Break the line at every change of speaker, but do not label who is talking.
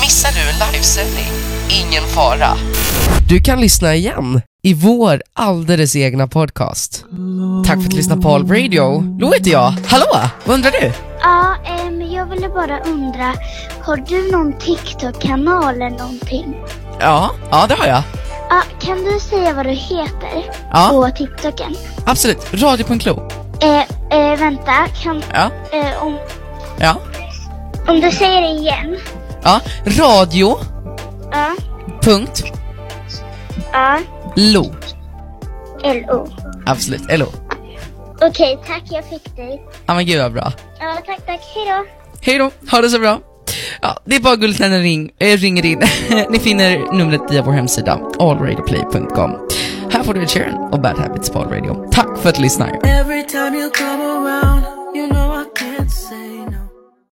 missar du en livesändning, ingen fara.
Du kan lyssna igen i vår alldeles egna podcast. Tack för att du lyssnade på All Radio. Lo heter jag. Hallå! Vad undrar du?
Ja, ehm, jag ville bara undra, har du någon TikTok-kanal eller någonting?
Ja, ja det har jag.
Ja, kan du säga vad du heter
Ja,
på TikToken?
absolut. Radio på en klo.
Eh, eh, vänta, kan,
Ja,
eh, om,
ja,
om du säger det igen.
ja. Radio.
Ja,
Punkt.
ja,
Lo.
L-O.
Absolut. LO.
Okej, tack jag fick dig.
Ja men gud vad bra.
Ja, tack, tack, hejdå.
Hej då, ha det så bra. Ja, det är bara gulligt när den ring, eh, ringer in. Ni finner numret via vår hemsida, allradioplay.com. Här får du Ed Sheeran och Bad Habits på All Radio. Tack för att du lyssnar.
Every time you call